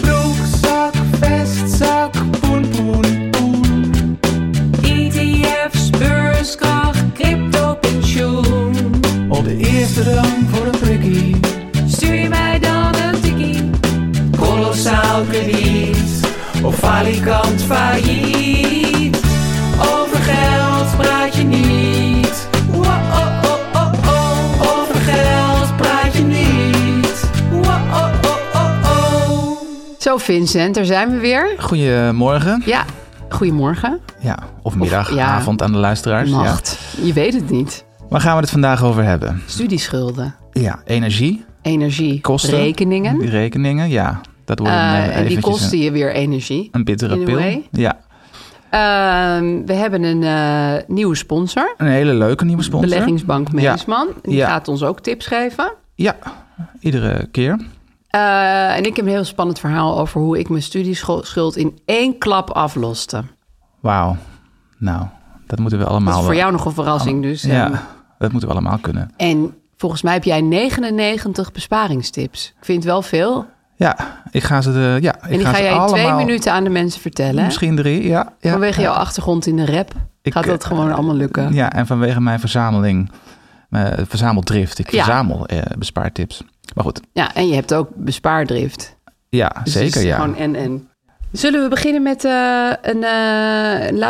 Broekzak, vestzak, poen, poen, poen. ETF's, beurskracht, crypto, pensioen. Op de eerste rang voor een prikkie. Stuur je mij dan een tikkie? Kolossaal krediet of falikant failliet. Over geld praat je niet. oh, Wow-oh-oh-oh-oh. oh. Over geld praat je niet. oh, Wow-oh-oh-oh-oh. Zo Vincent, daar zijn we weer. Goedemorgen. Ja, goedemorgen. Ja, of middag, Of, ja. avond aan de luisteraars. Nacht. Je weet het niet. Ja. Waar gaan we het vandaag over hebben? Studieschulden, Ja, energie, energie, kosten. rekeningen. Die rekeningen, ja. Dat wordt Eh, een, eh, en die eventjes kosten een, je weer energie. een bittere in a pil. way. Ja, Ehm, we hebben een eh, nieuwe sponsor, een hele leuke nieuwe sponsor. Beleggingsbank Meesman. Die Ja. gaat ons ook tips geven. Ja, iedere keer. Eh, en ik heb een heel spannend verhaal over hoe ik mijn studieschuld in één klap afloste. Wauw. Nou, dat moeten we allemaal... Dat is voor wel- jou nog een verrassing dus. Ja, ehm. dat moeten we allemaal kunnen. En volgens mij heb jij 99 besparingstips. Ik vind het wel veel. Ja, ik ga ze... De, ja, ik en die ga ga ze jij in allemaal, twee minuten aan de mensen vertellen. hè? Misschien drie, ja. ja Vanwege ja. jouw achtergrond in de rap Ik, gaat dat eh, gewoon allemaal lukken. Ja, en vanwege mijn verzameling, eh verzameldrift. Ik Ja. verzamel eh, bespaartips. Maar goed, Ja, en je hebt ook bespaardrift. ja, Dus het zeker is ja. Gewoon en en. Zullen we beginnen met eh, een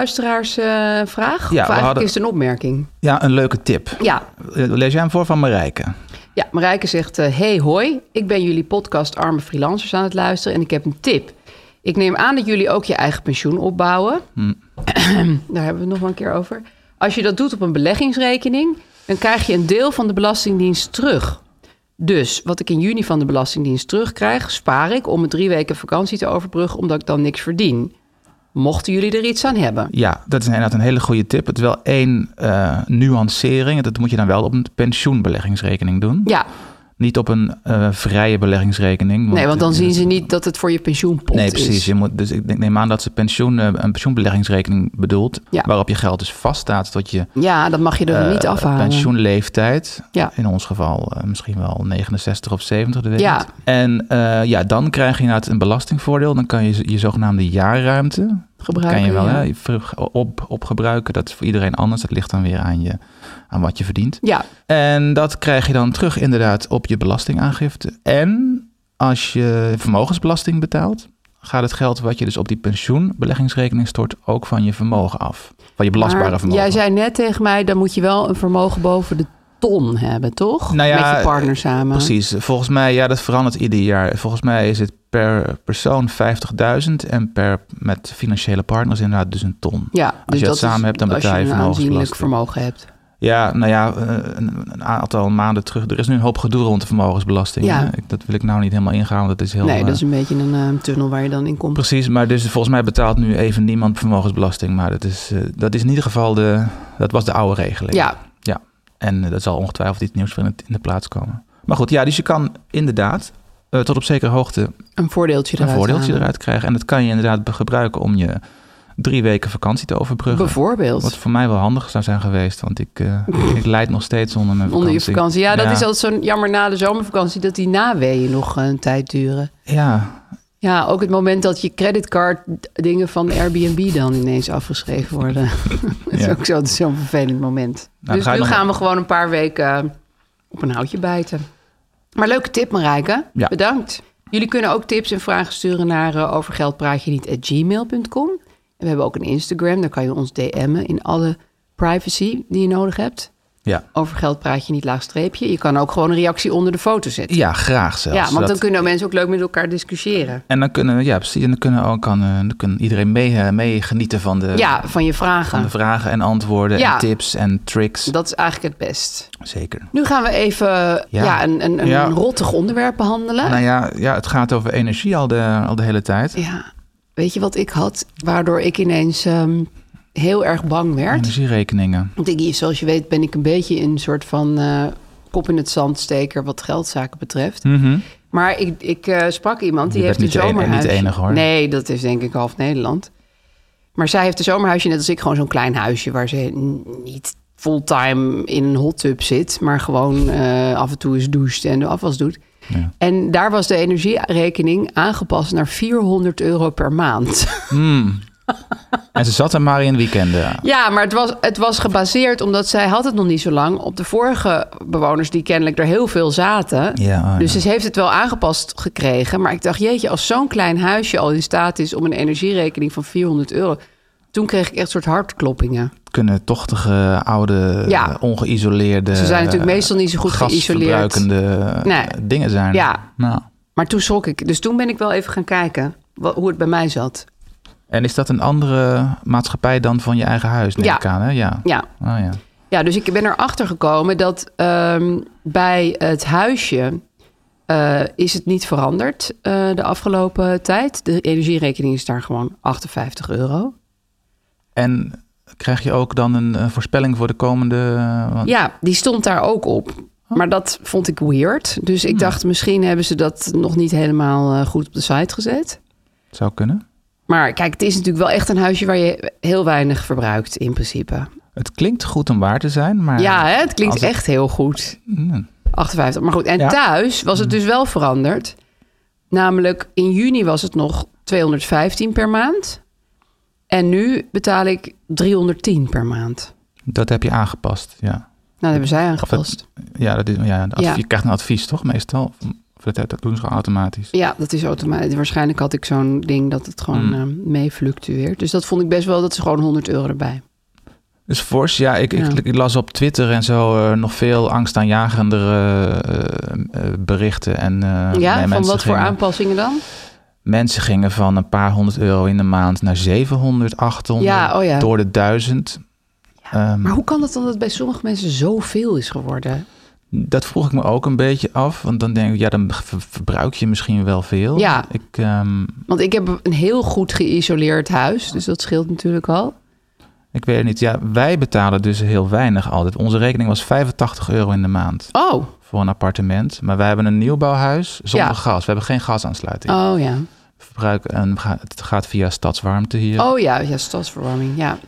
luisteraarsvraag? of we eigenlijk hadden- is het een opmerking. Ja, een leuke tip. Ja, Eh, Lees jij hem voor van Marijke? Ja, Marijke zegt: eh, Hey, hoi. Ik ben jullie podcast Arme Freelancers aan het luisteren en ik heb een tip. Ik neem aan dat jullie ook je eigen pensioen opbouwen. Hmm. Daar hebben we het nog wel een keer over. Als je dat doet op een beleggingsrekening, dan krijg je een deel van de Belastingdienst terug. Dus wat ik in juni van de Belastingdienst terugkrijg, spaar ik om mijn drie weken vakantie te overbruggen, omdat ik dan niks verdien. Mochten jullie er iets aan hebben? Ja, dat is inderdaad een hele goede tip. Het is wel één eh, nuancering. Dat moet je dan wel op een pensioenbeleggingsrekening doen. Ja, Niet op een eh, vrije beleggingsrekening. nee, want dan eh, zien ze niet dat het voor je pensioenpot Nee, is. precies. Je moet, dus ik denk- neem aan dat ze pensioen, eh, een pensioenbeleggingsrekening bedoelt. Ja. Waarop je geld dus vaststaat tot je Ja, dat mag je er eh, niet afhalen. pensioenleeftijd. Ja. In ons geval eh, misschien wel 69 of 70, dat weet ik Ja. niet. En eh, ja, dan krijg je inderdaad een belastingvoordeel. Dan kan je z- je zogenaamde jaarruimte... Gebruiken, kan je wel ja. hè, vr- op, opgebruiken. Dat is voor iedereen anders. Dat ligt dan weer aan, je, aan wat je verdient. Ja, En dat krijg je dan terug inderdaad op je belastingaangifte. En als je vermogensbelasting betaalt... gaat het geld wat je dus op die pensioenbeleggingsrekening stort... ook van je vermogen af. Van je belastbare maar vermogen. Jij zei net tegen mij, dan moet je wel een vermogen boven de ton hebben, toch? Nou ja, Met je partner samen. Precies. Volgens mij, ja, dat verandert ieder jaar. Volgens mij is het per persoon 50.000 en per met financiële partners inderdaad dus een ton. Ja, je dat is samen hebt, dan betaal je Als je een aanzienlijk vermogensbelasting. vermogen hebt. Ja, nou ja, eh, een, een aantal maanden terug. Er is nu een hoop gedoe rond de vermogensbelasting. Ja. hè. Ik- Dat wil ik nou niet helemaal ingaan, want dat is heel... nee, eh, dat is een beetje een eh, tunnel waar je dan in komt. Precies, maar dus volgens mij betaalt nu even niemand vermogensbelasting. Maar dat is, eh, dat is in ieder geval de... Dat was de oude regeling. Ja, Ja, en eh, dat zal ongetwijfeld iets nieuws voor in, het- in de plaats komen. Maar goed, ja, dus je kan inderdaad eh, tot op zekere hoogte een voordeeltje een eruit voordeeltje halen. eruit krijgen. En dat kan je inderdaad be- gebruiken om je drie weken vakantie te overbruggen. Bijvoorbeeld. Wat voor mij wel handig zou zijn geweest, want ik, eh, ik leid nog steeds onder mijn vakantie. Onder je vakantie. Ja, dat is altijd zo'n jammer na de zomervakantie... dat die naweeën nog eh, een tijd duren. Ja, Ja, ook het moment dat je creditcard dingen van Airbnb dan ineens afgeschreven worden. dat is Ja. Nou, ook zo- zo'n vervelend moment. dan dus ga je nu nog- gaan we gewoon een paar weken op een houtje bijten. Maar leuke tip, Marijke. Ja. Bedankt. Jullie kunnen ook tips en vragen sturen naar eh, overgeldpraatjeniet@gmail.com. En we hebben ook een Instagram, daar kan je ons DM'en in alle privacy die je nodig hebt. Ja. Over geld praat je niet laagstreepje. Je kan ook gewoon een reactie onder de foto zetten. ja, graag zelfs. Ja, want zodat- dan kunnen mensen ook leuk met elkaar discussiëren. En dan kunnen, ja, precies, en dan kunnen, ook, kan, eh, dan kan iedereen mee, eh, mee genieten van de, ja, van je van de vragen. vragen en antwoorden Ja. en tips en tricks. Dat is eigenlijk het best. Zeker. Nu gaan we even ja. een, een, een Ja. rottig onderwerp behandelen. Nou ja, ja, het gaat over energie al de, al de hele tijd. Ja, weet je wat ik had? Waardoor ik ineens ehm, heel erg bang werd. Energierekeningen. Want ik, zoals je weet ben ik een beetje een soort van eh, kop in het zand steker wat geldzaken betreft. Mhm. Maar ik, ik eh, sprak iemand die Je heeft bent een niet de ene- zomerhuisje. niet de enige, hoor. Nee, dat is denk ik half Nederland. Maar zij heeft een zomerhuisje net als ik, gewoon zo'n klein huisje waar ze n- niet fulltime in een hot tub zit, maar gewoon eh, af en toe eens doucht en de afwas doet. Ja. En daar was de energierekening aangepast naar 400 euro per maand. En ze zat er maar in weekenden. Ja, maar het was, het was gebaseerd, omdat zij had het nog niet zo lang, op de vorige bewoners die kennelijk er heel veel zaten. Ja, oh ja. dus ze heeft het wel aangepast gekregen. Maar ik dacht, jeetje, als zo'n klein huisje al in staat is om een energierekening van 400 euro. Toen kreeg ik echt soort hartkloppingen. Kunnen tochtige, oude, Ja. eh, ongeïsoleerde... Ze zijn natuurlijk eh, meestal niet zo goed geïsoleerd. gasverbruikende eh, Nee. dingen zijn. Ja. Nou. Maar toen schrok ik. Dus toen ben ik wel even gaan kijken wa- hoe het bij mij zat. En is dat een andere maatschappij dan van je eigen huis? Neem Ja. ik aan, hè? Ja. Ja, Oh, ja. Ja, dus ik ben erachter gekomen dat ehm, bij het huisje eh, is het niet veranderd eh, de afgelopen tijd. De energierekening is daar gewoon 58 euro. En krijg je ook dan een, eh, voorspelling voor de komende... eh, want- Ja, die stond daar ook op. Maar dat vond ik weird. Dus ik dacht, misschien hebben ze dat nog niet helemaal eh, goed op de site gezet. Zou kunnen. Maar kijk, het is natuurlijk wel echt een huisje waar je heel weinig verbruikt in principe. Het klinkt goed om waar te zijn, maar... Ja, hè? het klinkt als het- echt heel goed. Mm, 58. Maar goed, en Ja. Mm. thuis was het dus wel veranderd. Namelijk in juni was het nog 215 per maand. En nu betaal ik 310 per maand. dat heb je aangepast, ja. Nou, dat hebben zij aangepast. Ja, dat is, ja, de adv- Ja. je krijgt een advies toch meestal? Of dat, dat doen ze automatisch. Ja, dat is automatisch. Waarschijnlijk had ik zo'n ding dat het gewoon Mm. eh, mee fluctueert. Dus dat vond ik best wel, dat is gewoon 100 euro erbij. Dus fors, ja, ik, Ja. Ik, ik las op Twitter en zo eh, nog veel angstaanjagendere eh, eh, berichten. En, eh, nee, ja, van mensen wat voor gingen- aanpassingen dan? Mensen gingen van een paar honderd euro in de maand naar 700, 800, Ja, oh ja. door de duizend. Ehm, Maar hoe kan dat dan dat bij sommige mensen zoveel is geworden? Dat vroeg ik me ook een beetje af, want dan denk ik, ja, dan ver- verbruik je misschien wel veel. Ja. Ik, ehm, Want ik heb een heel goed geïsoleerd huis, dus dat scheelt natuurlijk al. ik weet het niet. Ja, wij betalen dus heel weinig altijd. Onze rekening was 85 euro in de maand Oh, voor een appartement. Maar wij hebben een nieuwbouwhuis zonder Ja. gas. We hebben geen gasaansluiting. oh ja. verbruik en ga- het gaat via stadswarmte hier. Oh ja, ja, stadsverwarming, ja.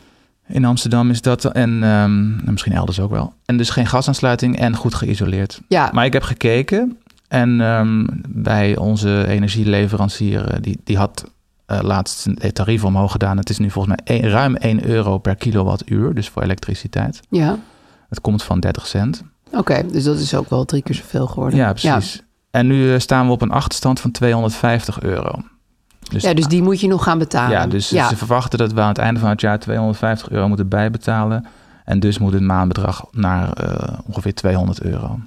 In Amsterdam is dat en ehm, en misschien elders ook wel. En dus geen gasaansluiting en goed geïsoleerd. Ja, Maar ik heb gekeken en ehm, bij onze energieleverancier, eh, die, die had eh, laatst een tarief omhoog gedaan. Het is nu volgens mij één- ruim 1 euro per kilowattuur, dus voor elektriciteit. ja. Het komt van 30 cent. oké. dus dat is ook wel drie keer zoveel geworden. Ja, precies. Dus- En nu eh, staan we op een achterstand van 250 euro. Dus, Ja. Ja, dus die moet je nog gaan betalen. Ja, dus Ehm, ja. ze verwachten dat we aan het einde van het jaar 250 euro moeten bijbetalen. En dus moet het maandbedrag naar eh, ongeveer 200 euro.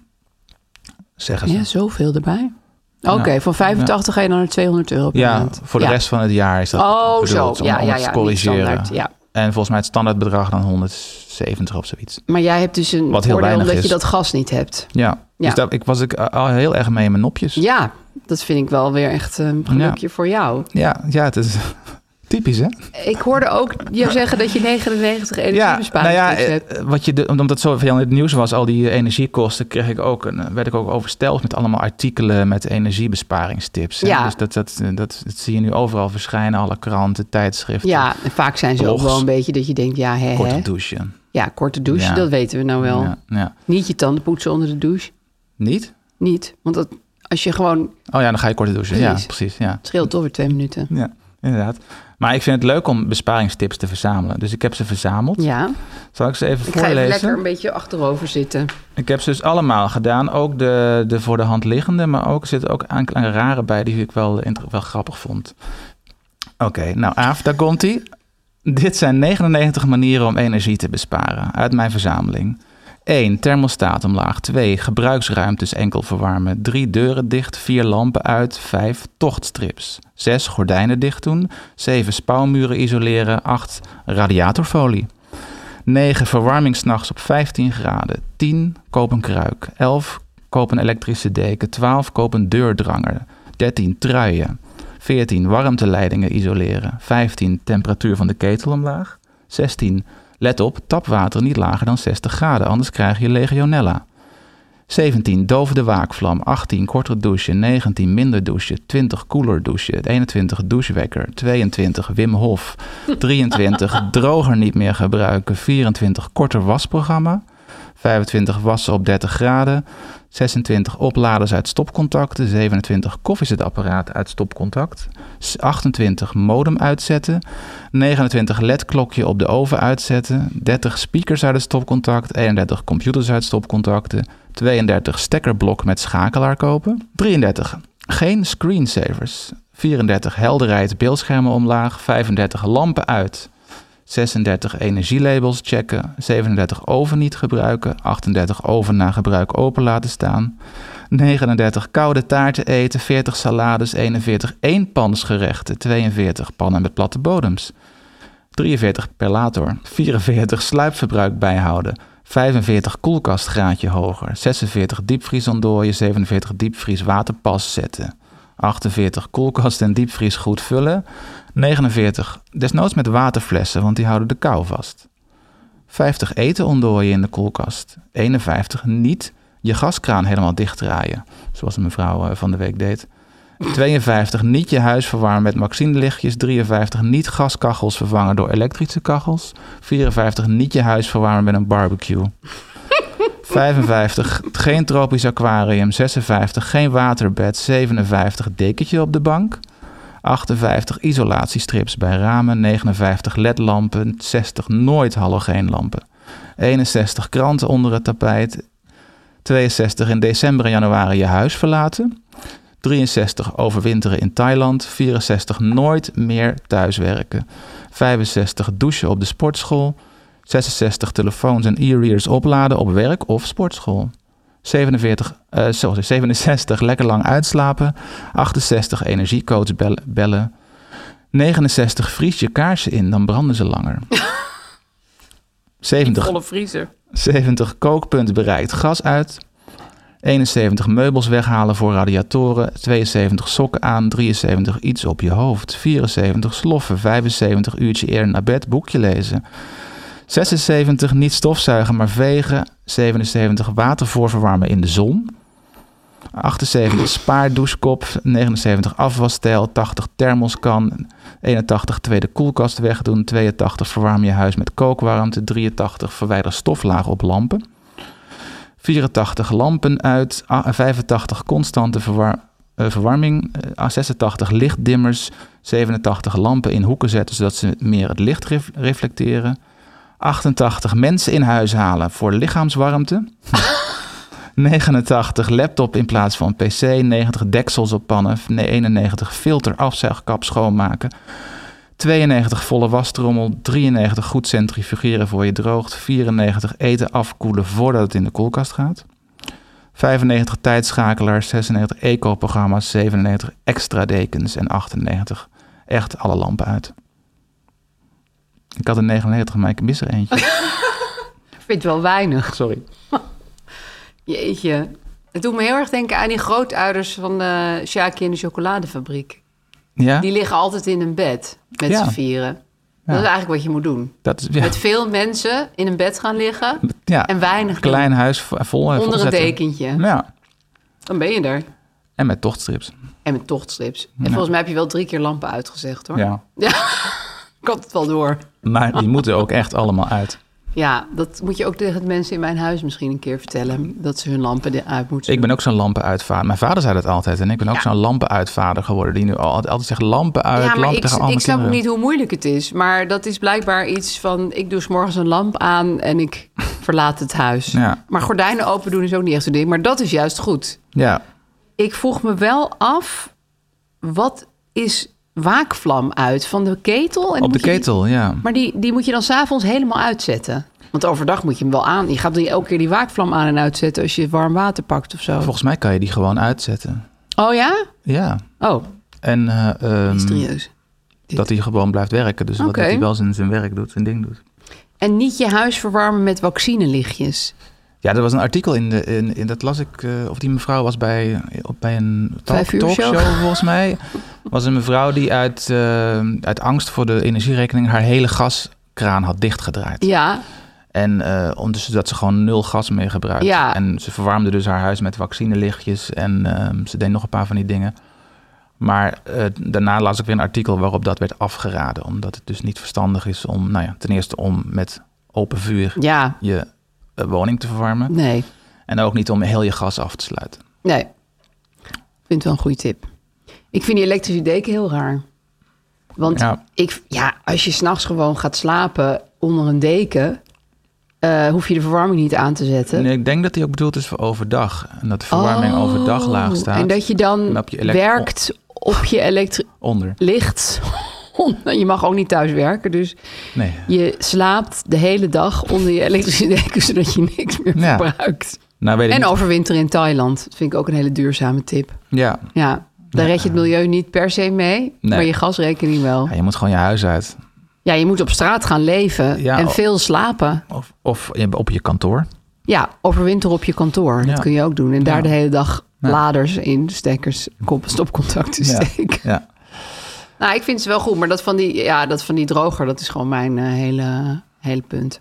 Zeggen ze. ja zoveel erbij. Oké, Ja. van 85 ga je dan naar 200 euro per Ja, maand. voor de rest van het jaar is dat Oh, zo. bedoeld, om, Ja, om ja, het ja. te niet corrigeren. standaard, ja. En volgens mij het standaardbedrag dan 170 of zoiets. Maar jij hebt dus een Wat heel voordeel weinig omdat je is. dat gas niet hebt. Ja, Ja. dus daar ik was ik eh, al heel erg mee in mijn nopjes. Ja, Ja, dat vind ik wel weer echt een gelukje voor jou. ja, het is typisch hè? Ik hoorde ook jou zeggen dat je 99 Ja, nou energiebesparingstips ja, hebt. eh, wat je de, omdat het zo veel in het nieuws was, al die eh, energiekosten, kreeg ik ook, een- eh, werd ik ook overstelpt met allemaal artikelen met energiebesparingstips. hè. Ja. Dus dat, dat, eh, dat, dat zie je nu overal verschijnen, alle kranten, tijdschriften, Ja, en vaak zijn ze ook Blogs. wel een beetje dat je denkt, ja, hè, korte hè. douchen. Ja, korte douche, Ja. dat weten we nou wel. Ja, ja. Niet je tanden poetsen onder de douche. Niet? Niet. Want dat, als je gewoon. Oh ja, dan ga je korte douchen. Ja, Precies. precies. Ja. Het scheelt toch weer twee minuten. Ja. inderdaad. Maar ik vind het leuk om besparingstips te verzamelen. Dus ik heb ze verzameld. Ja, Zal ik ze even ik ga voorlezen? even lekker een beetje achterover zitten. Ik heb ze dus allemaal gedaan. Ook de, de voor de hand liggende, maar ook er zitten ook enkele rare bij die ik wel, eh, inter- wel grappig vond. Oké, nou Aaf, daar komt ie. Dit zijn 99 manieren om energie te besparen uit mijn verzameling. 1. Thermostaat omlaag. 2. Gebruiksruimtes enkel verwarmen. 3. Deuren dicht. 4. Lampen uit. 5. Tochtstrips. 6. Gordijnen dicht doen. 7. Spouwmuren isoleren. 8. Radiatorfolie. 9. Verwarming s'nachts op 15 graden. 10. Koop een kruik. 11. Koop een elektrische deken. 12. Koop een deurdranger. 13. Truien. 14. Warmteleidingen isoleren. 15. Temperatuur van de ketel omlaag. 16. Let op, tapwater niet lager dan 60 graden, anders krijg je legionella. 17. Dove de waakvlam. 18. Korter douchen. 19. Minder douchen. 20. Koeler douchen. 21. Douchewekker. 22. Wim Hof. 23. Droger niet meer gebruiken. 24. Korter wasprogramma. 25. Wassen op 30 graden. 26. Opladers uit stopcontacten. 27. Koffiezetapparaat uit stopcontact. 28. Modem uitzetten. 29 LED-klokje op de oven uitzetten. 30 speakers uit het stopcontact. 31 computers uit stopcontacten. 32 stekkerblok met schakelaar kopen. 33 geen screensavers. 34 helderheid beeldschermen omlaag. 35 lampen uit. 36 energielabels checken. 37 oven niet gebruiken. 38 oven na gebruik open laten staan. 39 koude taarten eten, 40 salades, 41 eenpansgerechten, 42 pannen met platte bodems, 43 perlator, 44 sluipverbruik bijhouden, 45 koelkastgraadje hoger, 46 diepvriesondooien, 47 diepvries waterpas zetten, 48 koelkast en diepvries goed vullen, 49 desnoods met waterflessen, want die houden de kou vast. 50 eten ontdooien in de koelkast. 51 niet je gaskraan helemaal dichtdraaien, zoals een mevrouw eh, van de week deed. 52 niet je huis verwarmen met maxinelichtjes. 53 niet gaskachels vervangen door elektrische kachels. 54 niet je huis verwarmen met een barbecue. 55 geen tropisch aquarium. 56 geen waterbed. 57 dekentje op de bank. 58 isolatiestrips bij ramen, 59 ledlampen, 60 nooit halogeenlampen, 61 kranten onder het tapijt, 62 in december en januari je huis verlaten, 63 overwinteren in Thailand, 64 nooit meer thuiswerken, 65 douchen op de sportschool, 66 telefoons en e-readers opladen op werk of sportschool. 47, eh, sorry, 67 lekker lang uitslapen. 68 energiecoach bellen. bellen. 69 vries je kaarsen in, dan branden ze langer. 70 Volle vriezer. 70 kookpunt bereikt, gas uit. 71 meubels weghalen voor radiatoren. 72 sokken aan. 73 iets op je hoofd. 74 sloffen. 75 uurtje eerder naar bed, boekje lezen. 76 niet stofzuigen maar vegen. 77 water voorverwarmen in de zon. 78 spaar douchekop. 79 afwasstijl. 80 thermoskan. 81 tweede koelkast wegdoen. 82 verwarm je huis met kookwarmte. 83 verwijder stoflaag op lampen. 84 lampen uit. Ah, 85 constante verwar- eh, verwarming. Eh, 86 lichtdimmers. 87 lampen in hoeken zetten zodat ze meer het licht ref- reflecteren. 88 mensen in huis halen voor lichaamswarmte. 89 laptop in plaats van PC, 90 deksels op pannen, 91 filter afzuigkap schoonmaken, 92 volle wastrommel, 93 goed centrifugeren voor je droogt, 94 eten afkoelen voordat het in de koelkast gaat, 95 tijdschakelaars, 96 eco-programma's, 97 extra dekens en 98 echt alle lampen uit. Ik had er 99, maar ik mis er eentje. Ik vind het wel weinig. Sorry. Jeetje. Het doet me heel erg denken aan die grootouders van de Sjaakje in de chocoladefabriek. Ja, Die liggen altijd in een bed met Ja. z'n vieren. Dat is eigenlijk wat je moet doen. dat is... Ja. Met veel mensen in een bed gaan liggen Ja, en weinig doen. klein huis vo- vol onder een volzetten. dekentje. Ja, Dan ben je er. en met tochtstrips. En met tochtstrips. En volgens mij heb je wel drie keer lampen uitgezegd hoor. Ja. Ik had het wel door. Maar die moeten ook echt allemaal uit. Ja, dat moet je ook tegen de mensen in mijn huis misschien een keer vertellen. Dat ze hun lampen er uit moeten Ik ben ook zo'n lampenuitvader. Mijn vader zei dat altijd. En ik ben ook zo'n lampenuitvader geworden. Die nu al- altijd zegt lampen uit, ja, maar lampen ik, tegen al ik mijn snap ook kinderen. niet hoe moeilijk het is. Maar dat is blijkbaar iets van... ik doe 's morgens een lamp aan en ik verlaat het huis. Ja. Maar gordijnen open doen is ook niet echt een ding. Maar dat is juist goed. Ja, Ik vroeg me wel af... wat is waakvlam uit? Van de ketel? En op de moet je die- ketel, ja. maar die, die moet je dan s'avonds helemaal uitzetten. Want overdag moet je hem wel aan. Je gaat dan elke keer die waakvlam aan en uitzetten... als je warm water pakt of zo. Volgens mij kan je die gewoon uitzetten. Oh ja? Ja. Oh, En eh, ehm, mysterieus. dat hij gewoon blijft werken. Dus dat- Oké. dat hij wel zijn, zijn werk doet, zijn ding doet. En niet je huis verwarmen met vaccinelichtjes. Ja, er was een artikel in, de, in, in dat las ik, eh, of die mevrouw was bij, eh, op, bij een talk, Vijf uur show. talkshow volgens mij. Was een mevrouw die uit, eh, uit angst voor de energierekening haar hele gaskraan had dichtgedraaid. Ja, En eh om dus dat ze gewoon nul gas meer gebruikt. Ja. En ze verwarmde dus haar huis met vaccinelichtjes. En ehm, ze deed nog een paar van die dingen. Maar eh, daarna las ik weer een artikel waarop dat werd afgeraden. Omdat het dus niet verstandig is om, nou ja, ten eerste om met open vuur ja, je eh, woning te verwarmen. nee, En ook niet om heel je gas af te sluiten. nee. Ik vind het wel een goede tip. Ik vind die elektrische deken heel raar. Want Ja. Ik, ja, als je s'nachts gewoon gaat slapen onder een deken... eh, hoef je de verwarming niet aan te zetten. En ik denk dat die ook bedoeld is voor overdag. En dat de verwarming overdag laag Oh, staat. En dat je dan En op je elekt- werkt op je elektrisch Onder. licht. je mag ook niet thuis werken, dus Nee. je slaapt de hele dag onder je elektrische deken... zodat je niks meer Ja. verbruikt. Nou weet ik En niet. overwinter in Thailand. Dat vind ik ook een hele duurzame tip. Ja. Ja, daar red je het milieu niet per se mee, maar je gasrekening wel. ja, je moet gewoon je huis uit. Ja, je moet op straat gaan leven Ja, en o- veel slapen. Of, of op je kantoor. Ja, overwinter op je kantoor. Dat Ja. kun je ook doen. En daar Ja. de hele dag laders in, stekkers, kop- stopcontacten Ja. steken. Ja. Nou, ik vind ze wel goed, maar dat van die, ja, dat van die droger, dat is gewoon mijn eh, hele, hele punt.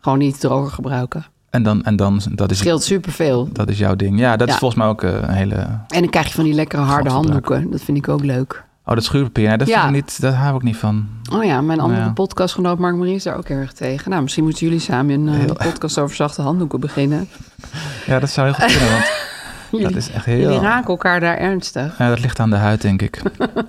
Gewoon niet droger gebruiken. En dan, en dan dat, is, Scheelt superveel. dat is jouw ding. Ja, dat Ja. is volgens mij ook eh, een hele... En dan krijg je van die lekkere harde Gasverbruik. handdoeken. Dat vind ik ook leuk. Oh, dat schuurpapier. Nee, dat Ja. vind ik niet, daar hou ik niet van. Oh ja, mijn andere Ja. podcastgenoot Mark Marie is daar ook heel erg tegen. Nou, misschien moeten jullie samen een eh, Heel- podcast over zachte handdoeken beginnen. Ja, dat zou heel goed kunnen, want Jullie, dat is echt jullie heel... raken elkaar daar ernstig. Ja, dat ligt aan de huid, denk ik.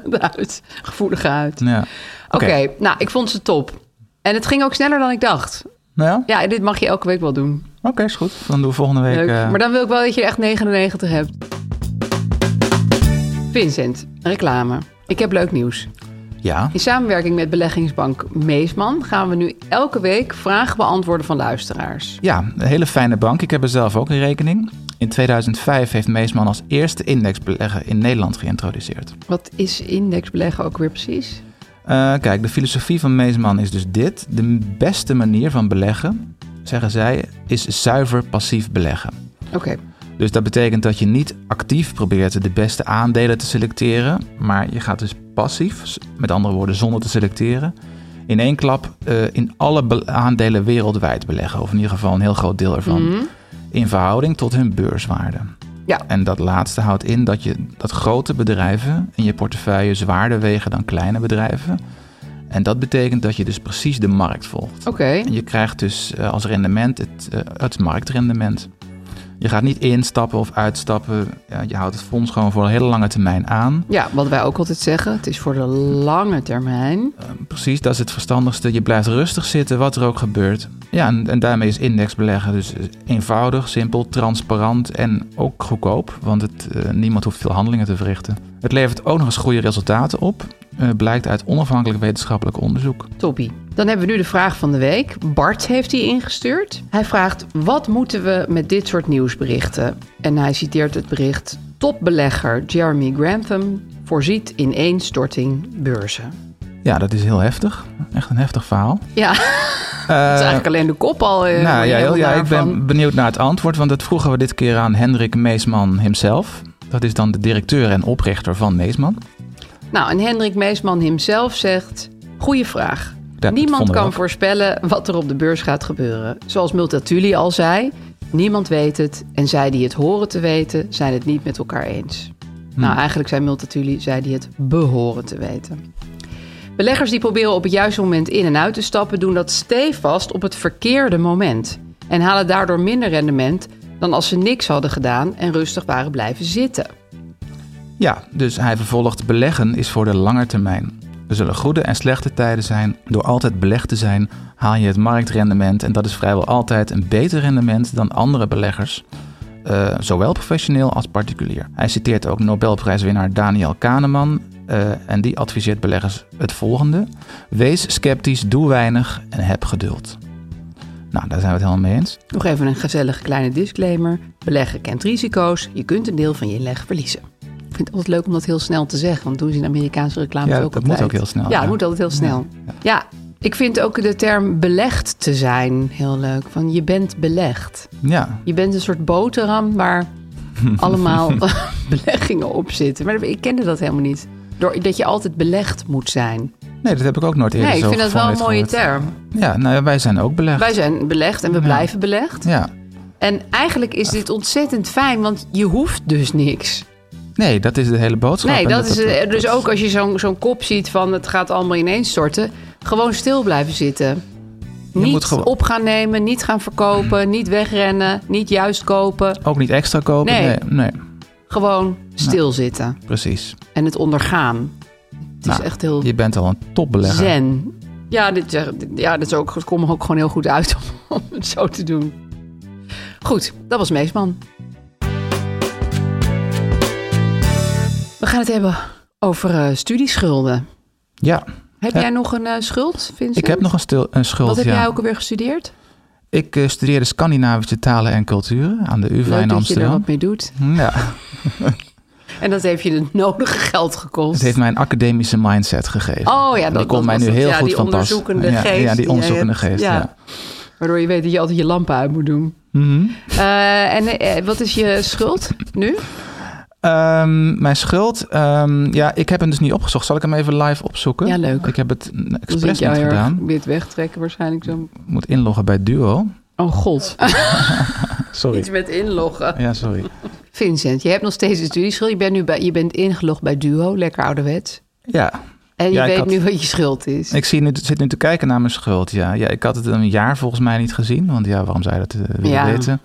De huid, gevoelige huid. Ja. Oké, nou, ik vond ze top. En het ging ook sneller dan ik dacht. Nou ja, oké, Ja, dit mag je elke week wel doen. is goed. Dan doen we volgende week... Leuk. eh, Maar dan wil ik wel dat je er echt 99 hebt. Vincent, reclame. Ik heb leuk nieuws. Ja, In samenwerking met beleggingsbank Meesman gaan we nu elke week vragen beantwoorden van luisteraars. Ja, een hele fijne bank. Ik heb er zelf ook een rekening. In 2005 heeft Meesman als eerste indexbelegger in Nederland geïntroduceerd. Wat is indexbeleggen ook weer precies? Eh, kijk, de filosofie van Meesman is dus dit. De beste manier van beleggen, zeggen zij, is zuiver passief beleggen. Oké, Dus dat betekent dat je niet actief probeert de beste aandelen te selecteren, maar je gaat dus passief, s- met andere woorden zonder te selecteren, in één klap eh, in alle be- aandelen wereldwijd beleggen. Of in ieder geval een heel groot deel ervan. In verhouding tot hun beurswaarde. Mhm. Ja. En dat laatste houdt in dat, je, dat grote bedrijven in je portefeuille zwaarder wegen dan kleine bedrijven. En dat betekent dat je dus precies de markt volgt. oké. En je krijgt dus eh, als rendement het, eh, het marktrendement. Je gaat niet instappen of uitstappen. Ja, je houdt het fonds gewoon voor een hele lange termijn aan. Ja, wat wij ook altijd zeggen, het is voor de lange termijn. Precies, dat is het verstandigste. Je blijft rustig zitten, wat er ook gebeurt. Ja, en, en daarmee is indexbeleggen dus eenvoudig, simpel, transparant en ook goedkoop. Want het, eh, niemand hoeft veel handelingen te verrichten. Het levert ook nog eens goede resultaten op. eh, blijkt uit onafhankelijk wetenschappelijk onderzoek. Toppie. Dan hebben we nu de vraag van de week. Bart heeft die ingestuurd. Hij vraagt, wat moeten we met dit soort nieuwsberichten? En hij citeert het bericht, topbelegger Jeremy Grantham voorziet in één storting beurzen. Ja, dat is heel heftig. Echt een heftig verhaal. Ja, dat is eigenlijk alleen de kop al. eh, Eh, Nou ja, heel, helemaal ja, ik daarvan. ben benieuwd naar het antwoord, want dat vroegen we dit keer aan Hendrik Meesman himself. Dat is dan de directeur en oprichter van Meesman. Nou, en Hendrik Meesman himself zegt: Goeie vraag. dat niemand vonden we kan ook. voorspellen wat er op de beurs gaat gebeuren. Zoals Multatuli al zei: niemand weet het. En zij die het horen te weten, zijn het niet met Hmm. elkaar eens. Nou, eigenlijk zei Multatuli, zij die het behoren te weten. Beleggers die proberen op het juiste moment in en uit te stappen, doen dat stevast op het verkeerde moment. En halen daardoor minder rendement dan als ze niks hadden gedaan en rustig waren blijven zitten. Ja, dus hij vervolgt beleggen is voor de lange termijn. Er zullen goede en slechte tijden zijn. Door altijd belegd te zijn haal je het marktrendement en dat is vrijwel altijd een beter rendement dan andere beleggers, eh, zowel professioneel als particulier. Hij citeert ook Nobelprijswinnaar Daniel Kahneman eh, en die adviseert beleggers het volgende. Wees sceptisch, doe weinig en heb geduld. Nou, daar zijn we het helemaal mee eens. Nog even een gezellige kleine disclaimer. Beleggen kent risico's. Je kunt een deel van je inleg verliezen. Ik vind het altijd leuk om dat heel snel te zeggen. Want doen ze in Amerikaanse reclames Ja, ook dat moet altijd. ook heel snel, Ja, dat ja. moet altijd heel snel. Ja, ik vind ook de term belegd te zijn heel leuk. Van je bent belegd. Ja, Je bent een soort boterham waar allemaal beleggingen op zitten. Maar ik kende dat helemaal niet. Door, dat je altijd belegd moet zijn. nee, dat heb ik ook nooit eerder Nee, ik zo vind dat wel van een dit mooie gehoord. term. Ja, nou ja, wij zijn ook belegd. Wij zijn belegd en we blijven belegd. Ja. En eigenlijk is dit ontzettend fijn, want je hoeft dus niks. Nee, dat is de hele boodschap. Nee, En dat is eh, dus ook als je zo'n zo'n kop ziet van het gaat allemaal ineens storten. Gewoon stil blijven zitten. niet moet gewoon- op gaan nemen, niet gaan verkopen, niet wegrennen, niet juist kopen. Ook niet extra kopen. Nee, Nee. nee, Gewoon stilzitten precies. en het ondergaan. Het Nou, is echt heel Je bent al een topbelegger. zen. Ja, dit, zeg- dit- ja, dat is ook, het komt me ook gewoon heel goed uit om, om het zo te doen. Goed, dat was Meesman. We gaan het hebben over eh, studieschulden. Ja, Heb Ja. jij nog een eh, schuld, Vincent? ik heb nog een, stil, een schuld. Wat heb ja. jij ook alweer gestudeerd? Ik eh, studeerde Scandinavische talen en culturen aan de UvA Leuk dat je in er Amsterdam. wat mee doet. Ja, En dat heeft je het nodige geld gekost. het heeft mij een academische mindset gegeven. Oh ja, dat, die komt dat mij was nu het. heel ja, goed die van pas. onderzoekende Ja, geest. ja, die je onderzoekende hebt. geest, ja. Waardoor je weet dat je altijd je lampen uit moet doen. Mhm. Eh, en eh, wat is je schuld nu? Ehm, mijn schuld, ehm, ja, ik heb hem dus niet opgezocht. Zal ik hem even live opzoeken? Ja, leuk. Ik heb het Dan mm, zie ik expres jou niet heel erg gedaan. Dit wegtrekken waarschijnlijk zo. Ik moet inloggen bij Duo. Oh god. Iets Sorry. met inloggen. Ja, sorry. Vincent, je hebt nog steeds een studieschuld. Je bent nu bij, je bent ingelogd bij Duo, lekker ouderwets. Ja, En je Ja, ik weet had- nu wat je schuld is. Ik zie nu, zit nu te kijken naar mijn schuld, ja. ja. Ik had het een jaar volgens mij niet gezien, want ja, waarom zou je dat eh, willen Ja. weten?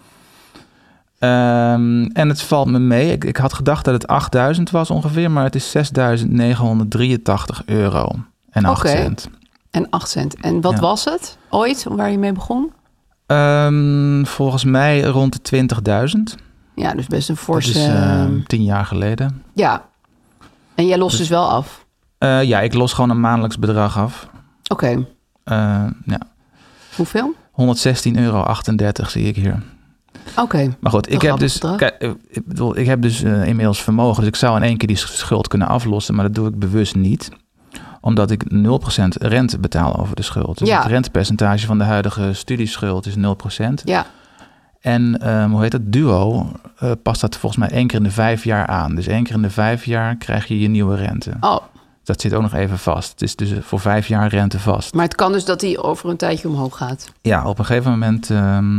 Ehm, en het valt me mee. Ik, ik had gedacht dat het 8000 was ongeveer, maar het is 6983 euro en 8 Oké. cent. En 8 cent. En wat Ja. was het ooit waar je mee begon? Ehm, volgens mij rond de 20.000. Ja, dus best een Dat forse. is eh, tien jaar geleden. ja. En jij lost dus wel af. Eh, ja, ik los gewoon een maandelijks bedrag af. Oké. Eh, ja, Hoeveel? 116,38 euro zie ik hier. Oké. Maar goed, ik Toch heb, grappig dus, bedrag. kijk, eh, ik, bedoel, ik heb dus eh, inmiddels vermogen. Dus ik zou in één keer die schuld kunnen aflossen. Maar dat doe ik bewust niet. Omdat ik 0% rente betaal over de schuld. Dus Ja. het rentepercentage van de huidige studieschuld is 0%. Ja. En ehm, hoe heet dat? Duo eh, past dat volgens mij één keer in de vijf jaar aan. Dus één keer in de vijf jaar krijg je je nieuwe rente. Oh, Dat zit ook nog even vast. Het is dus voor vijf jaar rente vast. maar het kan dus dat die over een tijdje omhoog gaat. Ja, op een gegeven moment, ehm,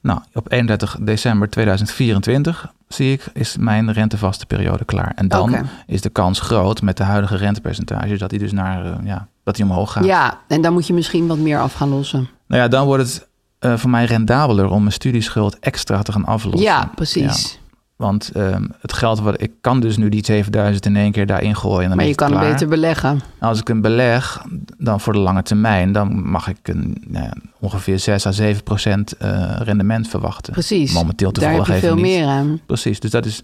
nou, op 31 december 2024 zie ik, is mijn rentevaste periode klaar. En dan Oké. is de kans groot met de huidige rentepercentage dat die dus naar, eh, ja, dat die omhoog gaat. Ja, en dan moet je misschien wat meer af gaan lossen. Nou ja, dan wordt het eh, voor mij rendabeler om mijn studieschuld extra te gaan aflossen. Ja, precies. Ja, want ehm, het geld wat ik kan dus nu die 7000 in één keer daarin gooien. en Dan maar is je het kan het klaar. beter beleggen. Nou, Als ik een beleg, dan voor de lange termijn, dan mag ik een, nou ja, ongeveer 6 à 7 procent eh, rendement verwachten. Precies. Momenteel Daar heb toevallig je even veel niet. meer aan. Precies, dus dat is,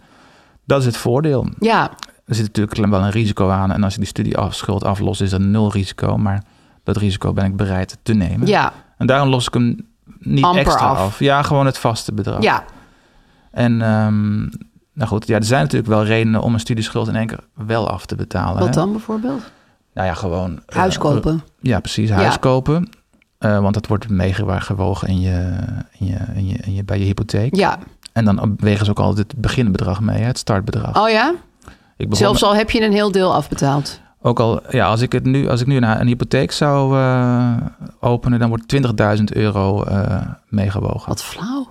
dat is het voordeel. Ja, Er zit natuurlijk wel een risico aan. En als ik die studieschuld aflos, is dat nul risico. Maar dat risico ben ik bereid te nemen. ja, En daarom los ik hem niet Amper extra af. af. Ja, gewoon het vaste bedrag. ja. En ehm, nou goed, ja, er zijn natuurlijk wel redenen om een studieschuld in één keer wel af te betalen. Wat hè. dan bijvoorbeeld? Nou ja, gewoon... eh, Huis kopen. Ja, precies. Huis kopen. Eh, want dat wordt meegewogen in je, in je, in je, in je, bij je hypotheek. Ja. En dan wegen ze ook altijd het beginbedrag mee, hè, het startbedrag. Oh ja? ik begon Zelfs al heb je een heel deel afbetaald. ook al, ja, als ik, het nu, als ik nu een, een hypotheek zou eh, openen, dan wordt 20.000 euro eh, meegewogen. Wat flauw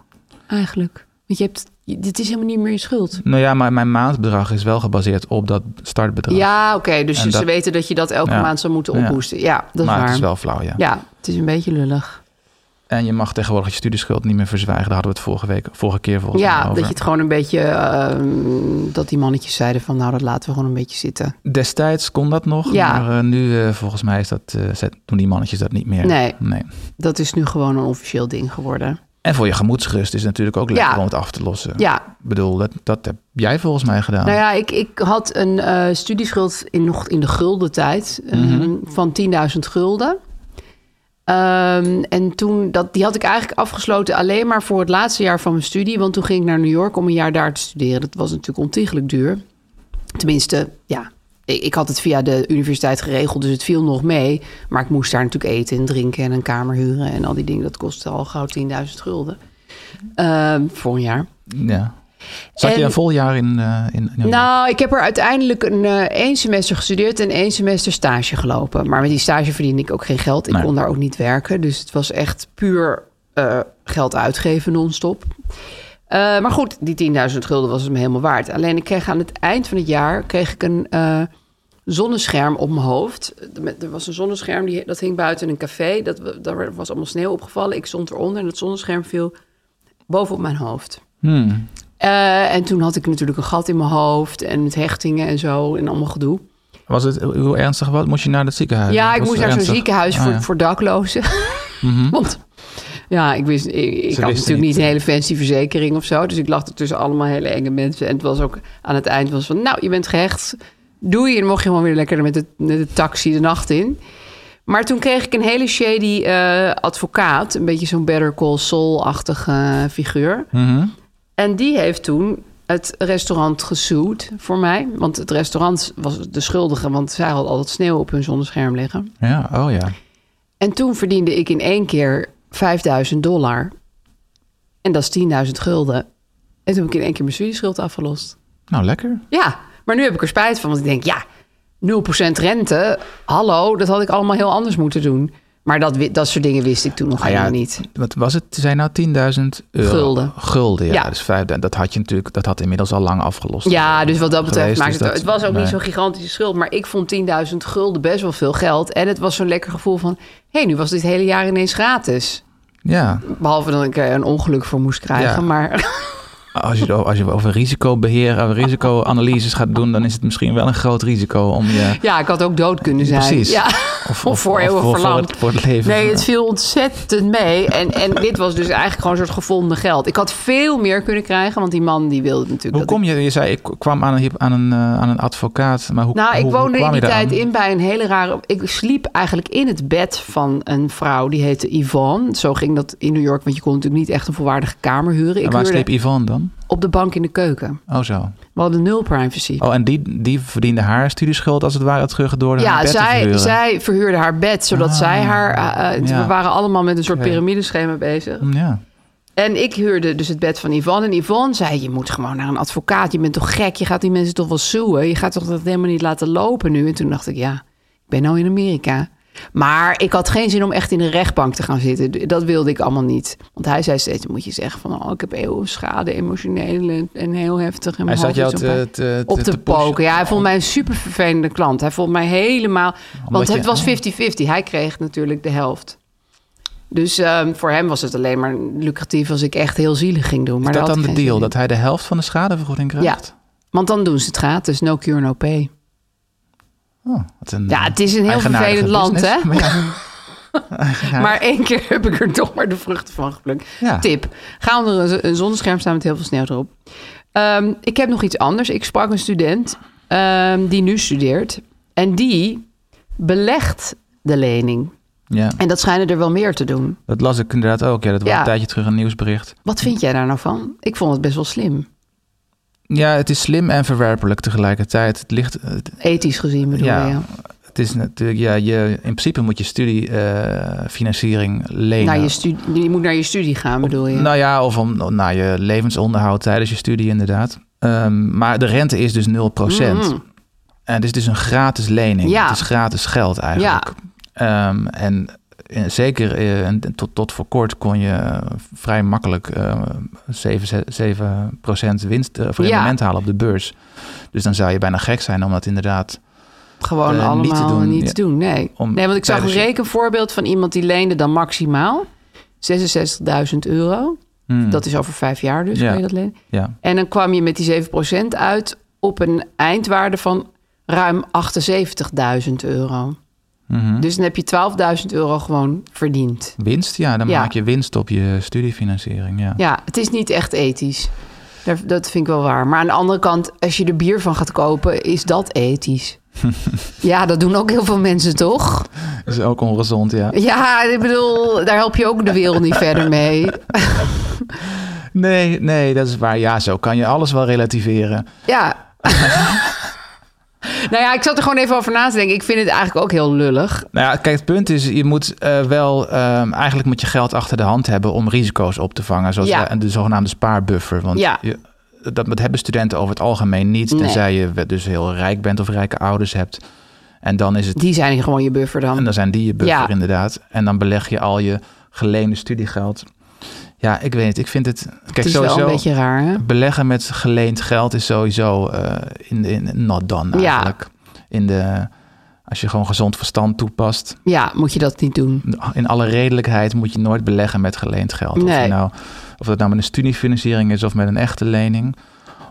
eigenlijk. Want je hebt je- dit is helemaal niet meer je schuld. Nou ja, maar mijn maandbedrag is wel gebaseerd op dat startbedrag. Ja, oké. dus En ze dat- weten dat je dat elke Ja. maand zou moeten Ja. ophoesten. Ja, dat is maar waar. het is wel flauw, ja. Ja, het is een beetje lullig. En je mag tegenwoordig je studieschuld niet meer verzwijgen. Daar hadden we het vorige, week, vorige keer volgens mij Ja, over. dat je het gewoon een beetje... ehm, dat die mannetjes zeiden van... nou, dat laten we gewoon een beetje zitten. Destijds kon dat nog, Ja. maar eh, nu eh, volgens mij is dat, eh, zet- doen die mannetjes dat niet meer. Nee. Dat is nu gewoon een officieel ding geworden. En voor je gemoedsrust is het natuurlijk ook lekker Ja. om het af te lossen. Ja, Ik bedoel, dat, dat heb jij volgens mij gedaan. Nou ja, ik, ik had een eh, studieschuld in, nog in de gulden tijd eh, van 10.000 gulden. Ehm, en toen, dat, die had ik eigenlijk afgesloten alleen maar voor het laatste jaar van mijn studie. Want toen ging ik naar New York om een jaar daar te studeren. Dat was natuurlijk ontiegelijk duur. Tenminste, ja, ik, ik had het via de universiteit geregeld, dus het viel nog mee. Maar ik moest daar natuurlijk eten en drinken en een kamer huren en al die dingen. Dat kostte al gauw 10.000 gulden Ehm, voor een jaar. Ja. Zat je En- een vol jaar in, eh in, in- Nou, ik heb er uiteindelijk een, eh, één semester gestudeerd en één semester stage gelopen. Maar met die stage verdiende ik ook geen geld. Ik Nee. kon daar ook niet werken. Dus het was echt puur eh, geld uitgeven non-stop. Eh, maar goed, die 10.000 gulden was het me helemaal waard. Alleen ik kreeg aan het eind van het jaar kreeg ik een eh, zonnescherm op mijn hoofd. Met- Er was een zonnescherm, die, dat hing buiten in een café. Dat, we- daar was allemaal sneeuw opgevallen. Ik stond eronder en het zonnescherm viel bovenop mijn hoofd. Hmm. Eh, en toen had ik natuurlijk een gat in mijn hoofd en met hechtingen en zo en allemaal gedoe. Was het, eh, hoe ernstig was Moest je naar het ziekenhuis? ja, ik Was moest het naar zo'n ernstig? ziekenhuis Ah, voor, ja. Mhm. voor daklozen. Want ja, ik, wist, ik, ik had natuurlijk niet. niet. een hele fancy verzekering of zo. Dus ik lag er tussen allemaal hele enge mensen. En het was ook aan het eind was van, nou, je bent gehecht. Doei. En dan mocht je gewoon weer lekker met de, met de taxi de nacht in. Maar toen kreeg ik een hele shady eh, advocaat. Een beetje zo'n Better Call Saul-achtige eh, figuur. Mhm. En die heeft toen het restaurant gesuwd voor mij. Want het restaurant was de schuldige, want zij had al dat sneeuw op hun zonnescherm liggen. Ja, oh ja. En toen verdiende ik in één keer 5000 dollar. En dat is 10.000 gulden. En toen heb ik in één keer mijn studieschuld afgelost. Nou, lekker. Ja, maar nu heb ik er spijt van, want ik denk, ja, 0% rente, hallo, dat had ik allemaal heel anders moeten doen. Maar dat, wi- dat soort dingen wist ik toen nog Ah ja, helemaal niet. Wat was het? Zijn nou 10.000 euro? Gulden. Gulden, ja. Ja. Dus 5.000. Dat had je natuurlijk, dat had inmiddels al lang afgelost. Ja, dus wat dat betreft geweest, maakt dus het... dat- het was ook niet nee. zo'n gigantische schuld. Maar ik vond 10.000 gulden best wel veel geld. En het was zo'n lekker gevoel van... hé, hey, nu was dit hele jaar ineens gratis. Ja. Behalve dat ik er een ongeluk voor moest krijgen. Ja. Maar Als je, als je over risicobeheer, over risicoanalyses gaat doen, dan is het misschien wel een groot risico om je. ja, ik had ook dood kunnen zijn. Precies. Ja. Of, voor eeuwig voor, voor, verlamd. het, voor het leven. Nee, het viel ontzettend mee. En, en dit was dus eigenlijk gewoon een soort gevonden geld. Ik had veel meer kunnen krijgen, want die man die wilde natuurlijk... Hoe dat ik- kom je? Je zei ik kwam aan een, hyp- aan een, eh, aan een advocaat, maar hoe? Nou, hoe, ik hoe woonde in kwam die je daaraan? tijd in bij een hele rare... Ik sliep eigenlijk in het bed van een vrouw, die heette Yvonne. Zo ging dat in New York, want je kon natuurlijk niet echt een volwaardige kamer huren. En Ik waar huurde sleep Yvonne dan? op de bank in de keuken. Oh zo. We hadden nul privacy. Oh, en die, die verdiende haar studieschuld als het ware terug door de ja, bed te zij, verhuren. zij verhuurde haar bed, zodat Ah, zij haar... eh, eh, ja. We waren allemaal met een soort Oké. piramideschema bezig. Mm, Ja. En ik huurde dus het bed van Yvonne. En Yvonne zei, je moet gewoon naar een advocaat. Je bent toch gek? Je gaat die mensen toch wel zoeën? Je gaat toch dat helemaal niet laten lopen nu? En toen dacht ik, ja, ik ben nou in Amerika. Maar ik had geen zin om echt in een rechtbank te gaan zitten. Dat wilde ik allemaal niet. Want hij zei steeds, moet je zeggen van... oh, ik heb eeuwig schade, emotioneel en, en heel heftig. En Hij mijn zat hoofd jou is op te, pijn." te, op te- te te pushen. poken. Ja, hij vond mij een super vervelende klant. Hij vond mij helemaal... Want je- het was 50-50. Hij kreeg natuurlijk de helft. Dus ehm, voor hem was het alleen maar lucratief als ik echt heel zielig ging doen. Maar Is dat daar dan had ik de geen deal? zin in. Dat hij de helft van de schadevergoeding krijgt? Want dan doen ze het gratis. No cure, no pay. Oh, wat een, Ja, het is een heel eigenaardige vervelend land, business. hè? Maar ja. Eigenaardig. Maar één keer heb ik er toch maar de vruchten van geplukt. Ja. Tip. Ga onder een, een zonnescherm staan met heel veel sneeuw erop. Ehm, ik heb nog iets anders. Ik sprak een student ehm, die nu studeert. En die belegt de lening. Ja, En dat schijnen er wel meer te doen. dat las ik inderdaad ook. Ja, dat was Ja. een tijdje terug een nieuwsbericht. Wat vind jij daar nou van? Ik vond het best wel slim. Ja, het is slim en verwerpelijk tegelijkertijd. Het ligt, het, Ethisch gezien bedoel Ja, je. het is natuurlijk, ja, je, in principe moet je studiefinanciering lenen. Naar je, studie, je moet naar je studie gaan, bedoel je? Nou ja, of om, naar je levensonderhoud tijdens je studie inderdaad. Ehm, maar de rente is dus 0%. Mm. Eh, En het is dus een gratis lening. Ja. Het is gratis geld eigenlijk. Ja. Ehm, en eh, zeker eh, en tot, tot voor kort kon je eh, vrij makkelijk eh 7, 7% winst eh, of Ja. rendement halen op de beurs. Dus dan zou je bijna gek zijn om dat inderdaad... Gewoon Eh, allemaal niet te niets doen, doen. ja. Nee. Om nee, want ik zag een tijdens je- rekenvoorbeeld van iemand die leende dan maximaal 66.000 euro. Hmm, Dat is over vijf jaar dus, Ja. kan je dat lenen. Ja, En dan kwam je met die 7% uit op een eindwaarde van ruim 78.000 euro. Hm? Dus dan heb je 12.000 euro gewoon verdiend. mhm. winst? Ja, dan Ja. maak je winst op je studiefinanciering. Ja. Ja, het is niet echt ethisch. Daar- Dat vind ik wel waar. Maar aan de andere kant, als je er bier van gaat kopen, is dat ethisch. ja, dat doen ook heel veel mensen toch? Dat is ook ongezond, ja. Ja, ik bedoel, daar help je ook de wereld niet verder mee. Nee, nee, dat is waar. Ja, zo kan je alles wel relativeren. Ja. nou ja, ik zat er gewoon even over na te denken. Ik vind het eigenlijk ook heel lullig. Nou ja, kijk, het punt is, je moet eh, wel ehm, eigenlijk moet je geld achter de hand hebben om risico's op te vangen. Zoals Ja. eh, de zogenaamde spaarbuffer. Want Ja. je- dat, dat hebben studenten over het algemeen niet. Nee. Tenzij je we- dus heel rijk bent of rijke ouders hebt. En dan is het. Die zijn gewoon je buffer dan. En dan zijn die je buffer, Ja. inderdaad. En dan beleg je al je geleende studiegeld. Ja, ik weet het. Ik vind het. Kijk, het is sowieso. wel een beetje raar, hè? Beleggen met geleend geld is sowieso eh, in, in not done Ja. eigenlijk. In de, als je gewoon gezond verstand toepast. Ja, moet je dat niet doen. in alle redelijkheid moet je nooit beleggen met geleend geld. Of, Nee. je nou, of dat nou met een studiefinanciering is of met een echte lening.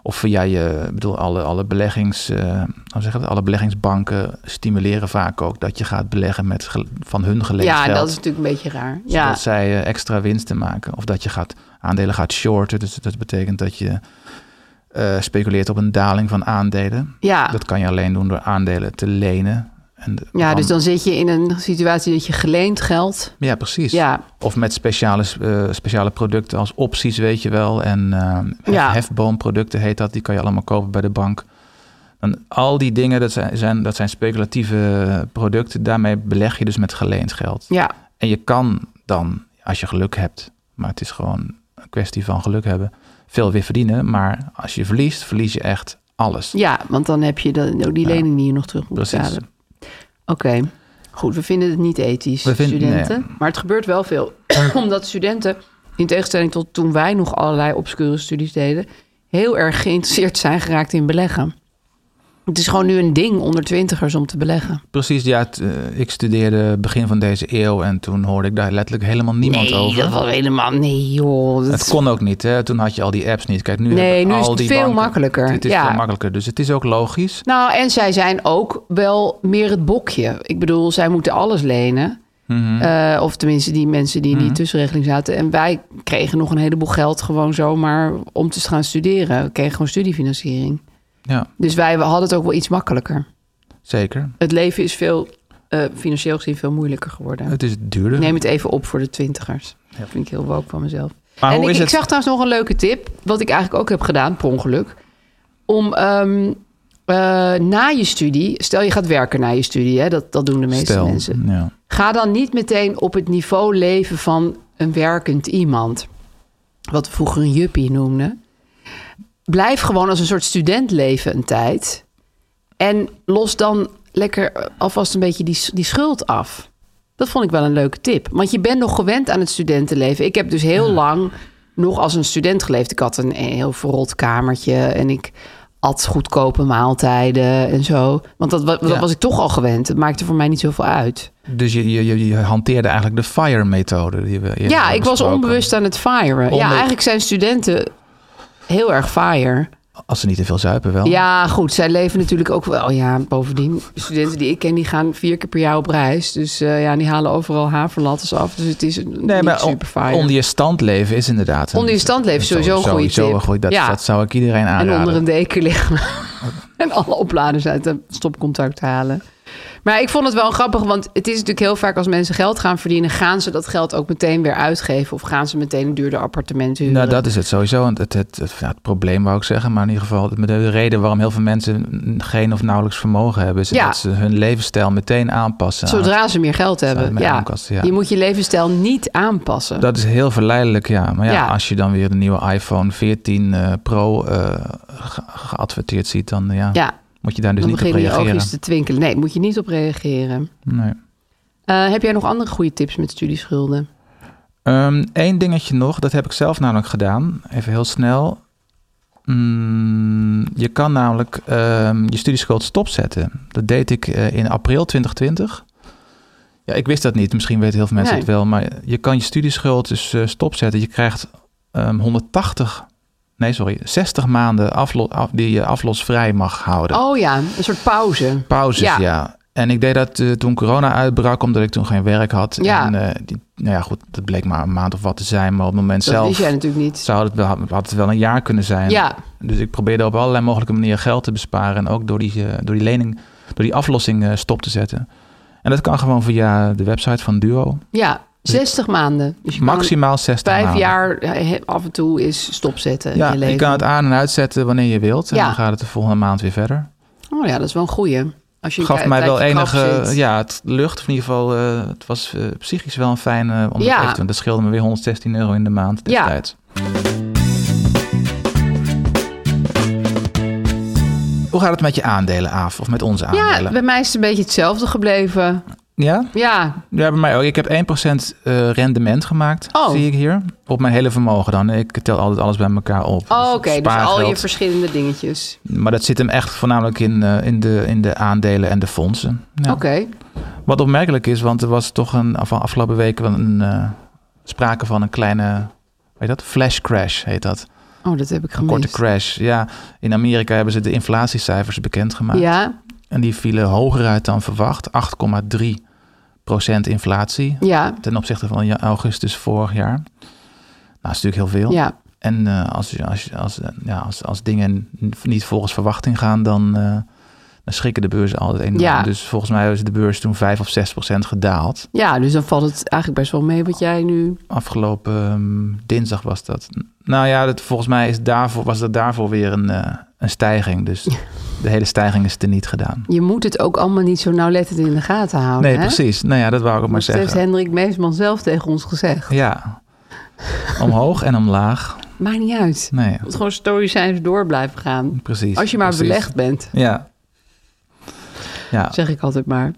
Of via je, ik bedoel, alle, alle, beleggings, eh, hoe zeg je dat? alle beleggingsbanken stimuleren vaak ook dat je gaat beleggen met gel- van hun geleend Ja, geld. dat is natuurlijk een beetje raar. Zodat Ja, zij eh, extra winsten maken. Of dat je gaat, aandelen gaat shorten. Dus dat betekent dat je eh, speculeert op een daling van aandelen. ja. Dat kan je alleen doen door aandelen te lenen. En de- ja dus dan zit je in een situatie dat je geleend geld... Ja, precies. Ja, Of met speciale, eh, speciale producten als opties, weet je wel. En eh, Ja. hefboomproducten heet dat. Die kan je allemaal kopen bij de bank. En al die dingen, dat zijn, zijn, dat zijn speculatieve producten. Daarmee beleg je dus met geleend geld. ja. En je kan dan, als je geluk hebt... maar het is gewoon een kwestie van geluk hebben... veel weer verdienen. Maar als je verliest, verlies je echt alles. ja want dan heb je dan ook die lening die je nog terug moet Precies. betalen. Oké, goed. We vinden het niet ethisch, We vinden- studenten. Maar het gebeurt wel veel. Omdat studenten, in tegenstelling tot toen wij nog allerlei obscure studies deden... heel erg geïnteresseerd zijn geraakt in beleggen. Het is gewoon nu een ding onder twintigers om te beleggen. Precies, ja. het, eh, ik studeerde begin van deze eeuw... en toen hoorde ik daar letterlijk helemaal niemand nee, over. dat was helemaal... Nee, joh. Dat Het kon ook niet, hè? Toen had je al die apps niet. Kijk, nu Nee, hebben nu is al het die veel banken- makkelijker, Het is ja. veel makkelijker, dus het is ook logisch. Nou, en zij zijn ook wel meer het bokje. Ik bedoel, zij moeten alles lenen. Mhm. Mm. Eh, of tenminste die mensen die in die tussenregeling zaten. En wij kregen nog een heleboel geld gewoon zomaar om te gaan studeren. We kregen gewoon studiefinanciering. Ja, Dus wij hadden het ook wel iets makkelijker. zeker. Het leven is veel, eh, financieel gezien veel moeilijker geworden. Het is duurder. Ik neem het even op voor de twintigers. Dat vind ik heel woke van mezelf. Maar en hoe ik, is ik het- zag trouwens nog een leuke tip, wat ik eigenlijk ook heb gedaan, per ongeluk. Om ehm, eh, na je studie, stel je gaat werken na je studie, hè, dat, dat doen de meeste Stel, mensen. Ja. Ga dan niet meteen op het niveau leven van een werkend iemand. Wat we vroeger een juppie noemden. Blijf gewoon als een soort student leven een tijd. En los dan lekker eh, alvast een beetje die, die schuld af. Dat vond ik wel een leuke tip. Want je bent nog gewend aan het studentenleven. Ik heb dus heel lang nog als een student geleefd. Ik had een heel verrot kamertje en ik at goedkope maaltijden en zo. Want dat, wa- dat Ja. was ik toch al gewend. Het maakte voor mij niet zoveel uit. Dus je, je, je, je hanteerde eigenlijk de FIRE-methode. die we eerder Ja, hebben ik was besproken. onbewust aan het firen. Ja, Onbe- eigenlijk zijn studenten heel erg fire. Als ze niet te veel zuipen wel. Ja, goed, zij leven natuurlijk ook wel. oh Ja, bovendien, de studenten die ik ken, die gaan vier keer per jaar op reis. Dus eh, ja, die halen overal haverlattes af. Dus het is Nee, maar on- super fire. onder je stand leven is inderdaad... een- Onder je stand leven is sowieso een goede sowieso tip. een goeie- dat, Ja. dat zou ik iedereen en aanraden. onder een deken liggen. en alle opladers uit de stopcontact halen. Maar ik vond het wel grappig, want het is natuurlijk heel vaak als mensen geld gaan verdienen, gaan ze dat geld ook meteen weer uitgeven of gaan ze meteen een duurder appartement huren. Nou, dat is het sowieso. Want Het, het, het, ja, het probleem wou ik zeggen, maar in ieder geval de, de reden waarom heel veel mensen geen of nauwelijks vermogen hebben, is Ja. dat ze hun levensstijl meteen aanpassen. aan Zodra ze meer geld hebben. met Ja. aankasten, ja. Je moet je levensstijl niet aanpassen. Dat is heel verleidelijk, ja. Maar ja, Ja. als je dan weer de nieuwe iPhone 14 eh, Pro eh, ge- geadverteerd ziet, dan eh, ja, ja, moet je daar dus dan niet op beginnen je reageren. oogjes te twinkelen. Nee, moet je niet op reageren. Nee. Eh, heb jij nog andere goede tips met studieschulden? Eén Ehm, dingetje nog, dat heb ik zelf namelijk gedaan. Even heel snel. Mm, je kan namelijk ehm, je studieschuld stopzetten. Dat deed ik eh, in april 2020. Ja, ik wist dat niet. Misschien weten heel veel mensen Nee. het wel. Maar je kan je studieschuld dus eh, stopzetten. Je krijgt ehm, 180, nee sorry, 60 maanden aflo- af- die je aflosvrij mag houden. Oh ja, een soort pauze. Pauzes, ja. Ja. En ik deed dat eh, toen corona uitbrak, omdat ik toen geen werk had. Ja. En, eh, die, nou ja, goed, dat bleek maar een maand of wat te zijn. Maar op het moment Dat zelf wist jij natuurlijk niet. zou het wel, had het wel een jaar kunnen zijn. Ja, Dus ik probeerde op allerlei mogelijke manieren geld te besparen. En ook door die, eh, door die lening, door die aflossing eh, stop te zetten. En dat kan gewoon via de website van Duo. ja, 60 maanden. Dus je kan Maximaal 60 vijf maanden. jaar eh, af en toe is stopzetten Ja, in je leven. je kan het aan- en uitzetten wanneer je wilt. En Ja. dan gaat het de volgende maand weer verder. Oh ja, dat is wel een goeie. Als eh, je een gaf tij- mij wel tijdje krap enige zit. ja, het lucht. Of in ieder geval, eh, het was eh, psychisch wel een fijn eh, om dat Ja. even te doen. Dat scheelde me weer 116 euro in de maand Ja. destijds. Hoe gaat het met je aandelen, Aaf? Of met onze Ja, aandelen? bij mij is het een beetje hetzelfde gebleven. Ja? Ja, Ja, bij mij ook. Ik heb 1% eh, rendement gemaakt, Oh. zie ik hier. Op mijn hele vermogen dan. Ik tel altijd alles bij elkaar op. oh, Dus oké. Dus al je spaargeld. verschillende dingetjes. Maar dat zit hem echt voornamelijk in, eh, in, de, in de aandelen en de fondsen. Ja. Oké. Wat opmerkelijk is, want er was toch een, van afgelopen weken wel een, eh, sprake van een kleine, hoe heet dat? Flash crash heet dat. Oh, dat heb ik Een gemist. korte crash. Ja, in Amerika hebben ze de inflatiecijfers bekendgemaakt. Ja, En die vielen hoger uit dan verwacht. 8,3% inflatie ja, ten opzichte van ja- augustus vorig jaar. Nou, dat is natuurlijk heel veel. ja. En eh, als, je- als, je- als, eh, ja, als, als dingen n- niet volgens verwachting gaan, dan, eh, dan schrikken de beurzen altijd enorm. Ja. Dus volgens mij is de beurs toen 5 of 6 procent gedaald. Ja, dus dan valt het eigenlijk best wel mee wat jij nu... Afgelopen ehm, dinsdag was dat. Nou ja, dat, volgens mij is daarvoor, was dat daarvoor weer een, eh, een stijging. Dus de hele stijging is teniet gedaan. Je moet het ook allemaal niet zo nauwlettend in de gaten houden, Nee, Oh, hè? precies. Nou ja, dat wou ik ook maar Dat dus heeft zeggen. Hendrik Meesman zelf tegen ons gezegd. Ja, omhoog en omlaag. Maakt niet uit. Nee, Het gewoon stoïcijns door blijven gaan. precies. Als je maar precies. belegd bent, Ja. Ja, zeg ik altijd maar.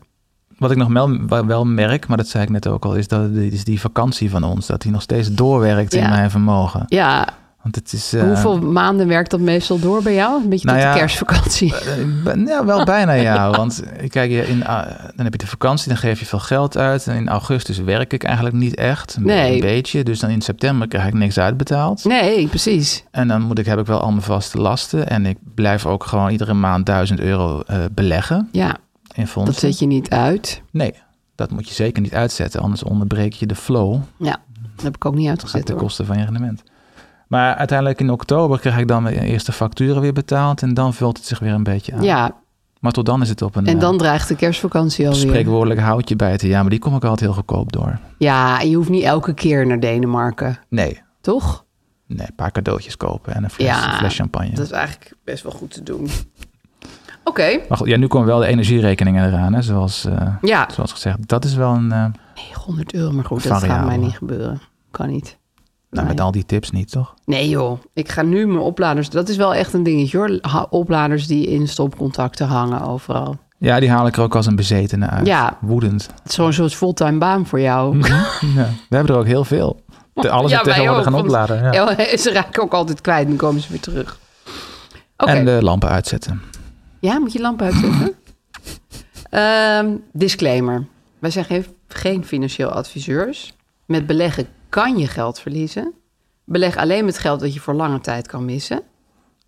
wat ik nog wel, wel merk, maar dat zei ik net ook al, is dat is die vakantie van ons, dat die nog steeds doorwerkt in Ja. mijn vermogen. Ja, Want het is. eh, hoeveel maanden werkt dat meestal door bij jou? Een beetje Nou tot ja, de kerstvakantie. Eh, b- Ja, wel bijna ja. Want eh, kijk, je in, ah, dan heb je de vakantie, dan geef je veel geld uit. En in augustus werk ik eigenlijk niet echt. Een, Nee. een beetje. Dus dan in september krijg ik niks uitbetaald. Nee, precies. En dan moet ik, heb ik wel al mijn vaste lasten. En ik blijf ook gewoon iedere maand 1000 euro eh, beleggen Ja, in dat fondsen. zet je niet uit. Nee, dat moet je zeker niet uitzetten. Anders onderbreek je de flow. Ja, dat heb ik ook niet Dat gaat uitgezet ten hoor. koste van je rendement. Maar uiteindelijk in oktober krijg ik dan mijn eerste facturen weer betaald. En dan vult het zich weer een beetje aan. Ja, Maar tot dan is het op een... en eh, dan dreigt de kerstvakantie alweer. spreekwoordelijk houtje bijten. Ja, maar die kom ik altijd heel goedkoop door. Ja, en je hoeft niet elke keer naar Denemarken, Nee, toch? nee een paar cadeautjes kopen en een fles, Ja, een fles champagne. Dat is eigenlijk best wel goed te doen. Oké, Maar goed, ja, nu komen wel de energierekeningen eraan, hè, zoals, eh, ja. zoals gezegd. Dat is wel een... eh, 900 euro, maar goed, dat gaat Variabel. mij niet gebeuren. Kan niet. nou, met Nee. al die tips niet, toch? Nee joh, ik ga nu mijn opladers... Dat is wel echt een dingetje hoor. Ha- Opladers die in stopcontacten hangen overal. Ja, die haal ik er ook als een bezetene uit. Ja. Woedend. Het is gewoon zo'n soort fulltime baan voor jou. Ja, we hebben er ook heel veel. De- Alles Ja, is wij tegenwoordig ook, gaan want- opladen. Ja. Ze raken ook altijd kwijt en dan komen ze weer terug. Oké. En de lampen uitzetten. Ja, moet je lamp uitzetten? Ehm, disclaimer. Wij zijn geen, geen financieel adviseurs. Met beleggen kan je geld verliezen. Beleg alleen met geld dat je voor lange tijd kan missen.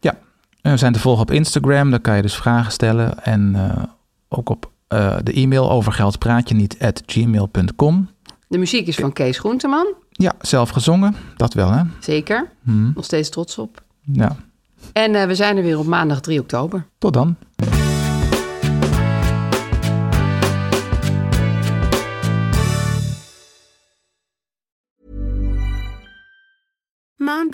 Ja, en we zijn te volgen op Instagram. Daar kan je dus vragen stellen. En eh, ook op eh, de e-mail over geld praat je niet at gmail.com. De muziek is van Kees Groenteman. Ja, zelf gezongen. Dat wel, hè? Zeker. Nog steeds trots op. Ja. En eh, we zijn er weer op maandag 3 oktober. Tot dan. Mom Mom